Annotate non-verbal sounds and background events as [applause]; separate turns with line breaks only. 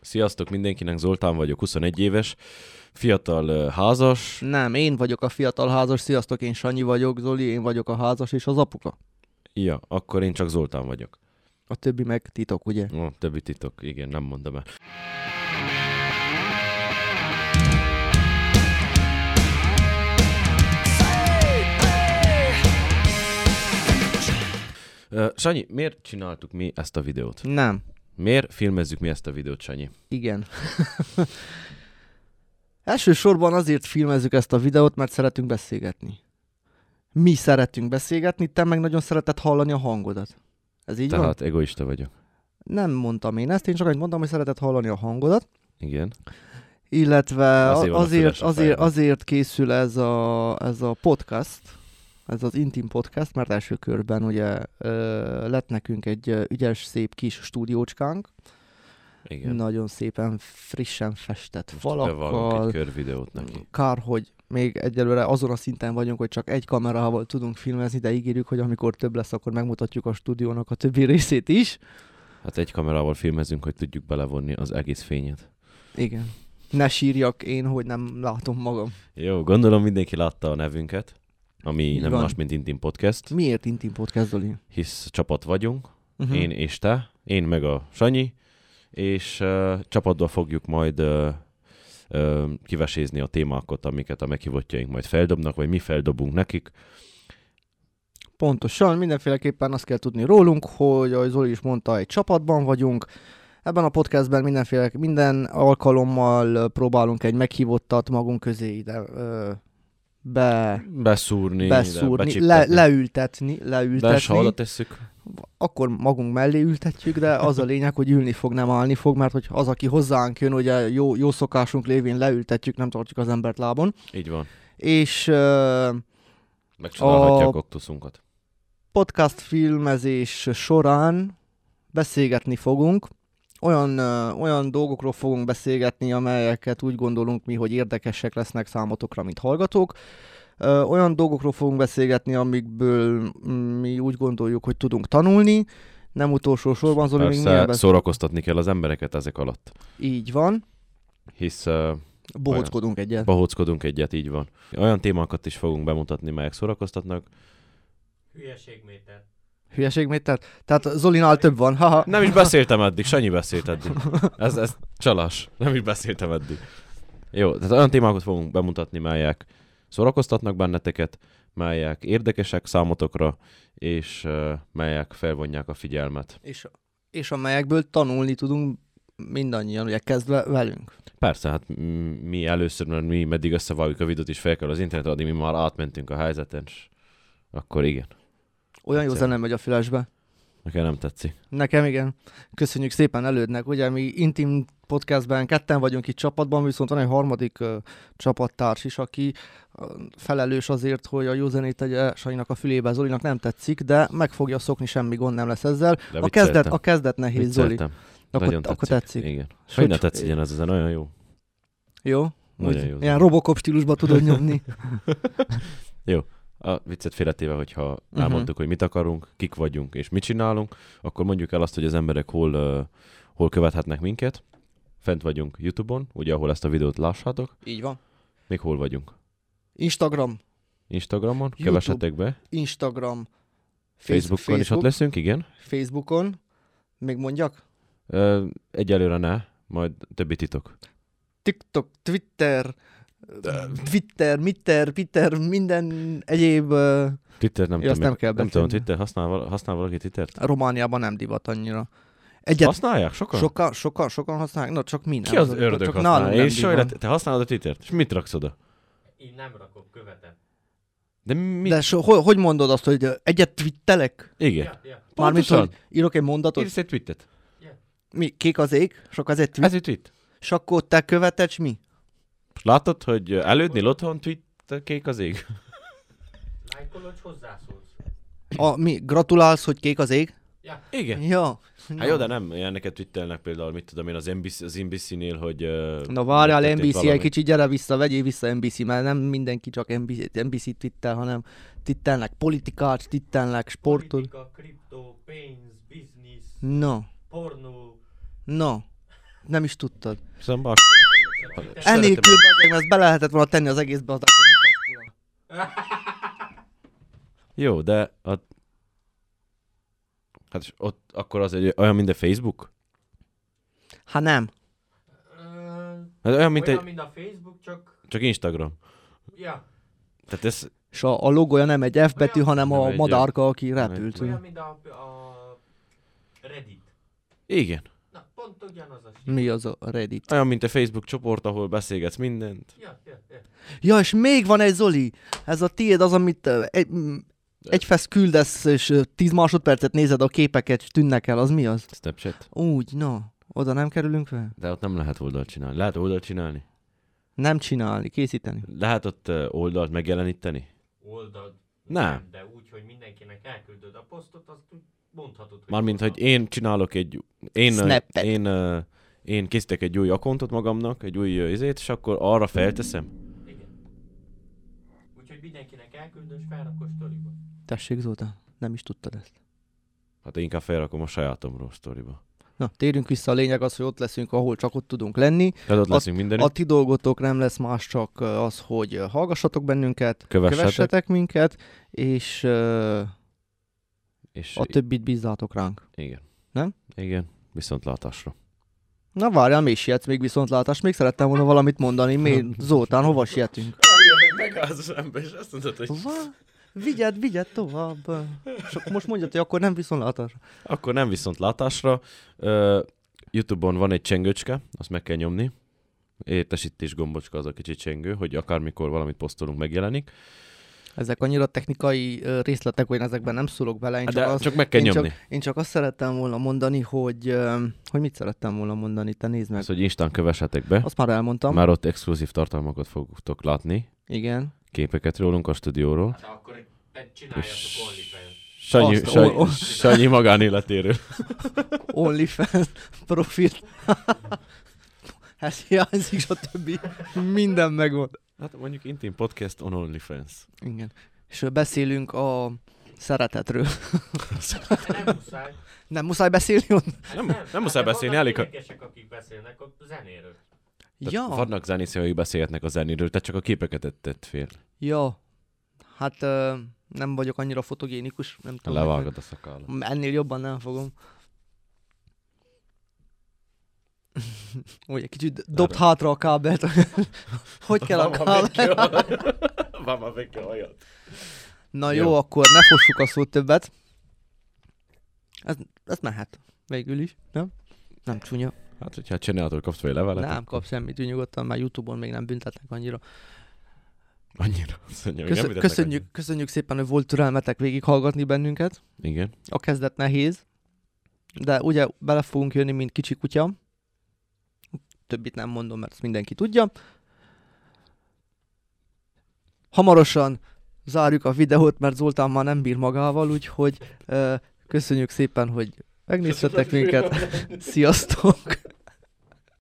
Sziasztok mindenkinek, Zoltán vagyok, 21 éves, fiatal ö, házas.
Nem, én vagyok a fiatal házas, sziasztok, én Sanyi vagyok, Zoli, én vagyok a házas és az apuka.
Ja, akkor én csak Zoltán vagyok.
A többi meg titok, ugye?
Ó, többi titok, igen, nem mondom el. Ö, Sanyi, miért csináltuk mi ezt a videót?
Nem,
Miért filmezzük mi ezt a videót, Sanyi?
igen. [laughs] Elsősorban azért filmezzük ezt a videót, mert szeretünk beszélgetni. Mi szeretünk beszélgetni, te meg nagyon szereted hallani a hangodat. Ez így van?
Tehát egoista vagyok.
Nem mondtam én ezt, én csak annyit mondtam, hogy szereted hallani a hangodat,
Igen.
illetve
Azért
azért,
van a
azért,
füles a
azért,
fejben.
azért készül ez a, ez a podcast, ez az intim podcast, mert első körben ugye ö, lett nekünk egy ö, ügyes, szép kis stúdiócskánk,
Igen.
nagyon szépen, frissen festett
Most bevágunk egy
falakkal.
körvideót neki.
Kár, hogy még egyelőre azon a szinten vagyunk, hogy csak egy kamerával tudunk filmezni, de ígérjük, hogy amikor több lesz, akkor megmutatjuk a stúdiónak a többi részét is.
Hát egy kamerával filmezünk, hogy tudjuk belevonni az egész fényet.
Igen. Ne sírjak én, hogy nem látom magam.
Jó, gondolom mindenki látta a nevünket, ami
Így
nem
van.
más, mint Intim Podcast,
Miért intim podcast, Zoli?
hisz csapat vagyunk,
Uh-huh.
én és te, én meg a Sanyi, és uh, csapatba fogjuk majd uh, uh, kivesézni a témákat, amiket a meghívottjaink majd feldobnak, vagy mi feldobunk nekik.
Pontosan, mindenféleképpen azt kell tudni rólunk, hogy ahogy Zoli is mondta, egy csapatban vagyunk. Ebben a podcastben mindenféle, minden alkalommal ö, próbálunk egy meghívottat magunk közé ide ö, be,
Beszúrni,
beszúrni, le,
le,
leültetni,
de se
leültetni.
oda tesszük.
Akkor magunk mellé ültetjük, de az a lényeg, hogy ülni fog, nem állni fog, mert hogy az, aki hozzánk jön, ugye jó, jó szokásunk lévén leültetjük, nem tartjuk az embert lábon.
Így van.
És ö,
Megcsinálhatják a... oktuszunkat.
podcast filmezés során beszélgetni fogunk. Olyan, ö, olyan dolgokról fogunk beszélgetni, amelyeket úgy gondolunk mi, hogy érdekesek lesznek számotokra, mint hallgatók. Ö, Olyan dolgokról fogunk beszélgetni, amikből mm, mi úgy gondoljuk, hogy tudunk tanulni. Nem utolsó sorban, Zoli, Szóval még milyen
Persze
besz...
szórakoztatni kell az embereket ezek alatt,
Így van.
hisz uh,
Bohockodunk egyet.
Bahóckodunk egyet, így van. Olyan témákat is fogunk bemutatni, melyek szórakoztatnak.
Hülyeségméter.
Hülyeség mit tett? Tehát Zolinál több van. Haha.
Nem is beszéltem eddig, Sanyi beszélt eddig. Ez, ez csalás. Nem is beszéltem eddig. Jó, tehát olyan témákat fogunk bemutatni, melyek szórakoztatnak benneteket, melyek érdekesek számotokra, és uh, melyek felvonják a figyelmet.
És, és amelyekből tanulni tudunk mindannyian, ugye kezdve velünk.
Persze, hát m- mi először, mert mi meddig összevágjuk a videót és fel kell az internetre, addig mi már átmentünk a helyzeten, és akkor igen.
Olyan jó
Egyszerű.
zene megy a fülesbe.
Nekem nem tetszik.
Nekem igen. Köszönjük szépen elődnek. Ugye mi intim podcastben ketten vagyunk itt csapatban, viszont van egy harmadik uh, csapattárs is, aki uh, felelős azért, hogy a jó zenét tegye Sanyinak a fülébe, Zolinak nem tetszik, de meg fogja szokni, semmi gond nem lesz ezzel.
De
a, kezdet,
vicceltem.
a kezdet nehéz, Zoli.
Vicceltem.
Akkor,
Nagyon
akkor tetszik.
Igen.
És
Hogy ne
hogy-
tetszigyen ez ezen, olyan jó.
Jó?
Nagyon
Úgy,
jó
ilyen
zene.
Robocop stílusba tudod
[laughs]
nyomni.
A viccet félretéve, hogyha
Mhm.
uh-huh. elmondtuk, hogy mit akarunk, kik vagyunk és mit csinálunk, akkor mondjuk el azt, hogy az emberek hol, uh, hol követhetnek minket. Fent vagyunk YouTube-on, ugye, ahol ezt a videót lássátok.
Így van.
Még hol vagyunk?
Instagram,
Instagramon, YouTube. kövessetek
YouTube.
be. Facebookon
Instagram,
Facebook. is ott leszünk, igen.
Facebookon, még mondjak?
Uh, egyelőre ne, majd többi titok.
TikTok, Twitter, Twitter, Mitter, Peter, minden egyéb. ö,
Twitter nem
Ja, azt
tudom.
nem kell
nem tudom,
beszélni.
Twitter használ, val- használ valaki Twittert?
Romániában nem divat annyira. Egyet,
Használják sokan?
sokan, sokan, sokan használják, na csak mi nem.
Ki az
Csak
ördög
nálunk
használ?
nem
És
divat.
Sajla, te használod a Twittert? És mit raksz oda?
Én nem rakom, követem.
De mit?
De so, hogy, hogy mondod azt, hogy ö, egyet twittelek?
Igen.
Ja, ja.
Mármint,
Pontosan.
hogy írok egy mondatot,
Írsz egy tweetet.
mi, kék az ég, sok az egy tweet,
Ez egy tweet.
és akkor te követed, s mi?
Látod, hogy elődnél otthon tweet kék az ég?
Lájkolod, és hozzászólsz.
A, mi, gratulálsz, hogy kék az ég?
Igen.
Ja.
[laughs] Hát jó, de nem, ilyeneket twittelnek például, mit tudom én, az, NBC, az NBC-nél, hogy... Uh,
Na várjál, NBC, egy kicsit gyere vissza, vegyél vissza NBC, mert nem mindenki csak NBC, NBC tittel, hanem tittelnek politikát, tittelnek sportot.
Politika, kriptó, pénz, biznisz,
No,
pornó,
no. Nem is tudtad.
Hiszen bak...
Ennélkül, bazeg, mert ezt bele lehetett volna tenni az egészbe, az akkor mit basz ki a-
Jó, de a... Hát és ott akkor az egy olyan, mint a Facebook?
Hát nem.
Hát olyan, mint
Mint Olyan,
egy...
mint a Facebook, csak...
Csak Instagram.
Ja,
Tehát ez...
És a, a logója nem egy F betű, hanem
Nem
a
egy-
madárka, aki repült.
Tudom.
olyan, mint a, a Reddit.
Igen.
Na, pont ugyanaz a shit.
Mi az a Reddit?
Olyan, mint a Facebook csoport, ahol beszélgetsz mindent.
Ja, ja, ja.
Ja, és még van egy Zoli. Ez a tiéd az, amit ö, egy, mm, egy fesz küldesz, és ö, 10 másodpercet nézed a képeket, és tűnnek el. Az mi az?
Snapchat.
Úgy, na. Oda nem kerülünk fel?
De ott nem lehet oldalt csinálni. Lehet oldalt csinálni?
Nem csinálni, készíteni.
Lehet ott ö, oldalt megjeleníteni?
Oldalt.
Nem.
De úgy, hogy mindenkinek elküldöd a posztot, azt úgy mondhatod, hogy...
Mármint, hogy
honnan.
én csinálok egy... Én, ö,
Snappet.
én, ö, én készítek egy új akontot magamnak, egy új ö, izét, és akkor arra felteszem.
Igen. Úgyhogy mindenkinek elküldöd, és felrakod sztoriba.
Tessék, Zoltán, nem is tudtad ezt.
Hát inkább felrakom a sajátomról sztoriba.
Na, térjünk vissza, a lényeg az, hogy ott leszünk, ahol csak ott tudunk lenni.
Tehát ott
A-
leszünk mindenütt.
A ti dolgotok nem lesz más, csak ö, az, hogy ö, hallgassatok bennünket,
Kövessetek.
kövessetek minket, és ö,
És
a többit bízzátok ránk.
Igen.
Nem?
Igen. Viszontlátásra.
Na várjál, mi sietsz még viszontlátás, még szerettem volna valamit mondani,
[laughs]
mi Zoltán, hova sietünk?
Megállsz az ember, és azt mondod, hogy
Hova? Vigyed, vigyed tovább. És akkor most mondjad, hogy akkor nem viszontlátásra.
akkor nem viszontlátásra. Ö, Youtube-on van egy csengőcske, azt meg kell nyomni. Értesítés gombocska az a kicsi csengő, hogy akármikor valamit posztolunk, megjelenik.
Ezek annyira technikai ö, részletek, hogy én ezekben nem szólok bele, én
Hát
csak
De
azt
csak meg kell
én
nyomni.
Csak, én csak azt szerettem volna mondani, hogy, ö, hogy mit szerettem volna mondani, te nézd meg.
Az, hogy Instán kövessetek be.
Azt már elmondtam.
Már ott exkluzív tartalmakat fogtok látni.
Igen.
Képeket rólunk a stúdióról.
Hát akkor te csináljátok OnlyFans.
Sanyi,
Azt-
Sanyi,
o- o-
Sanyi magánéletéről.
OnlyFans profil. [laughs] Ez hiányzik, és a többi minden megvan.
Hát mondjuk intim podcast on OnlyFans.
Igen. És ö, beszélünk a szeretetről.
De nem muszáj.
Nem muszáj beszélni ott?
Hát
Nem- nem
Hát
muszáj
de
beszélni,
vannak
elég, ha-
énekesek, akik beszélnek a zenéről.
Ja.
Ja.
Vannak zenészek, akik beszélgetnek a zenéről, tehát csak a képeket tett fél.
Ja. Hát ö, nem vagyok annyira fotogénikus, nem tudom.
Levágod a
[laughs]
szakállat.
Ennél jobban nem fogom. Ugye, kicsit dobd
Erre.
hátra a kábelt. hogy kell a kábel?
Mama veke hajat.
Na
Jó.
jó, akkor ne fossuk a szót többet. Ez, ez mehet. Végül is, nem? Nem csúnya.
Hát, hogyha csinálhatod, kapsz fel levelet.
Nem kap semmit, úgy nyugodtan, már Youtube-on még nem büntetnek annyira.
Annyira. Azt mondja, még nem
Köszö-
ütetnek
köszönjük, köszönjük szépen, hogy volt türelmetek végighallgatni bennünket.
annyira. Igen.
A kezdet nehéz, de ugye bele fogunk jönni, mint kicsi kutya. Többit nem mondom, mert ezt mindenki tudja. Hamarosan zárjuk a videót, mert Zoltán már nem bír magával, úgyhogy ö, köszönjük szépen, hogy megnéztetek minket. Sziasztok!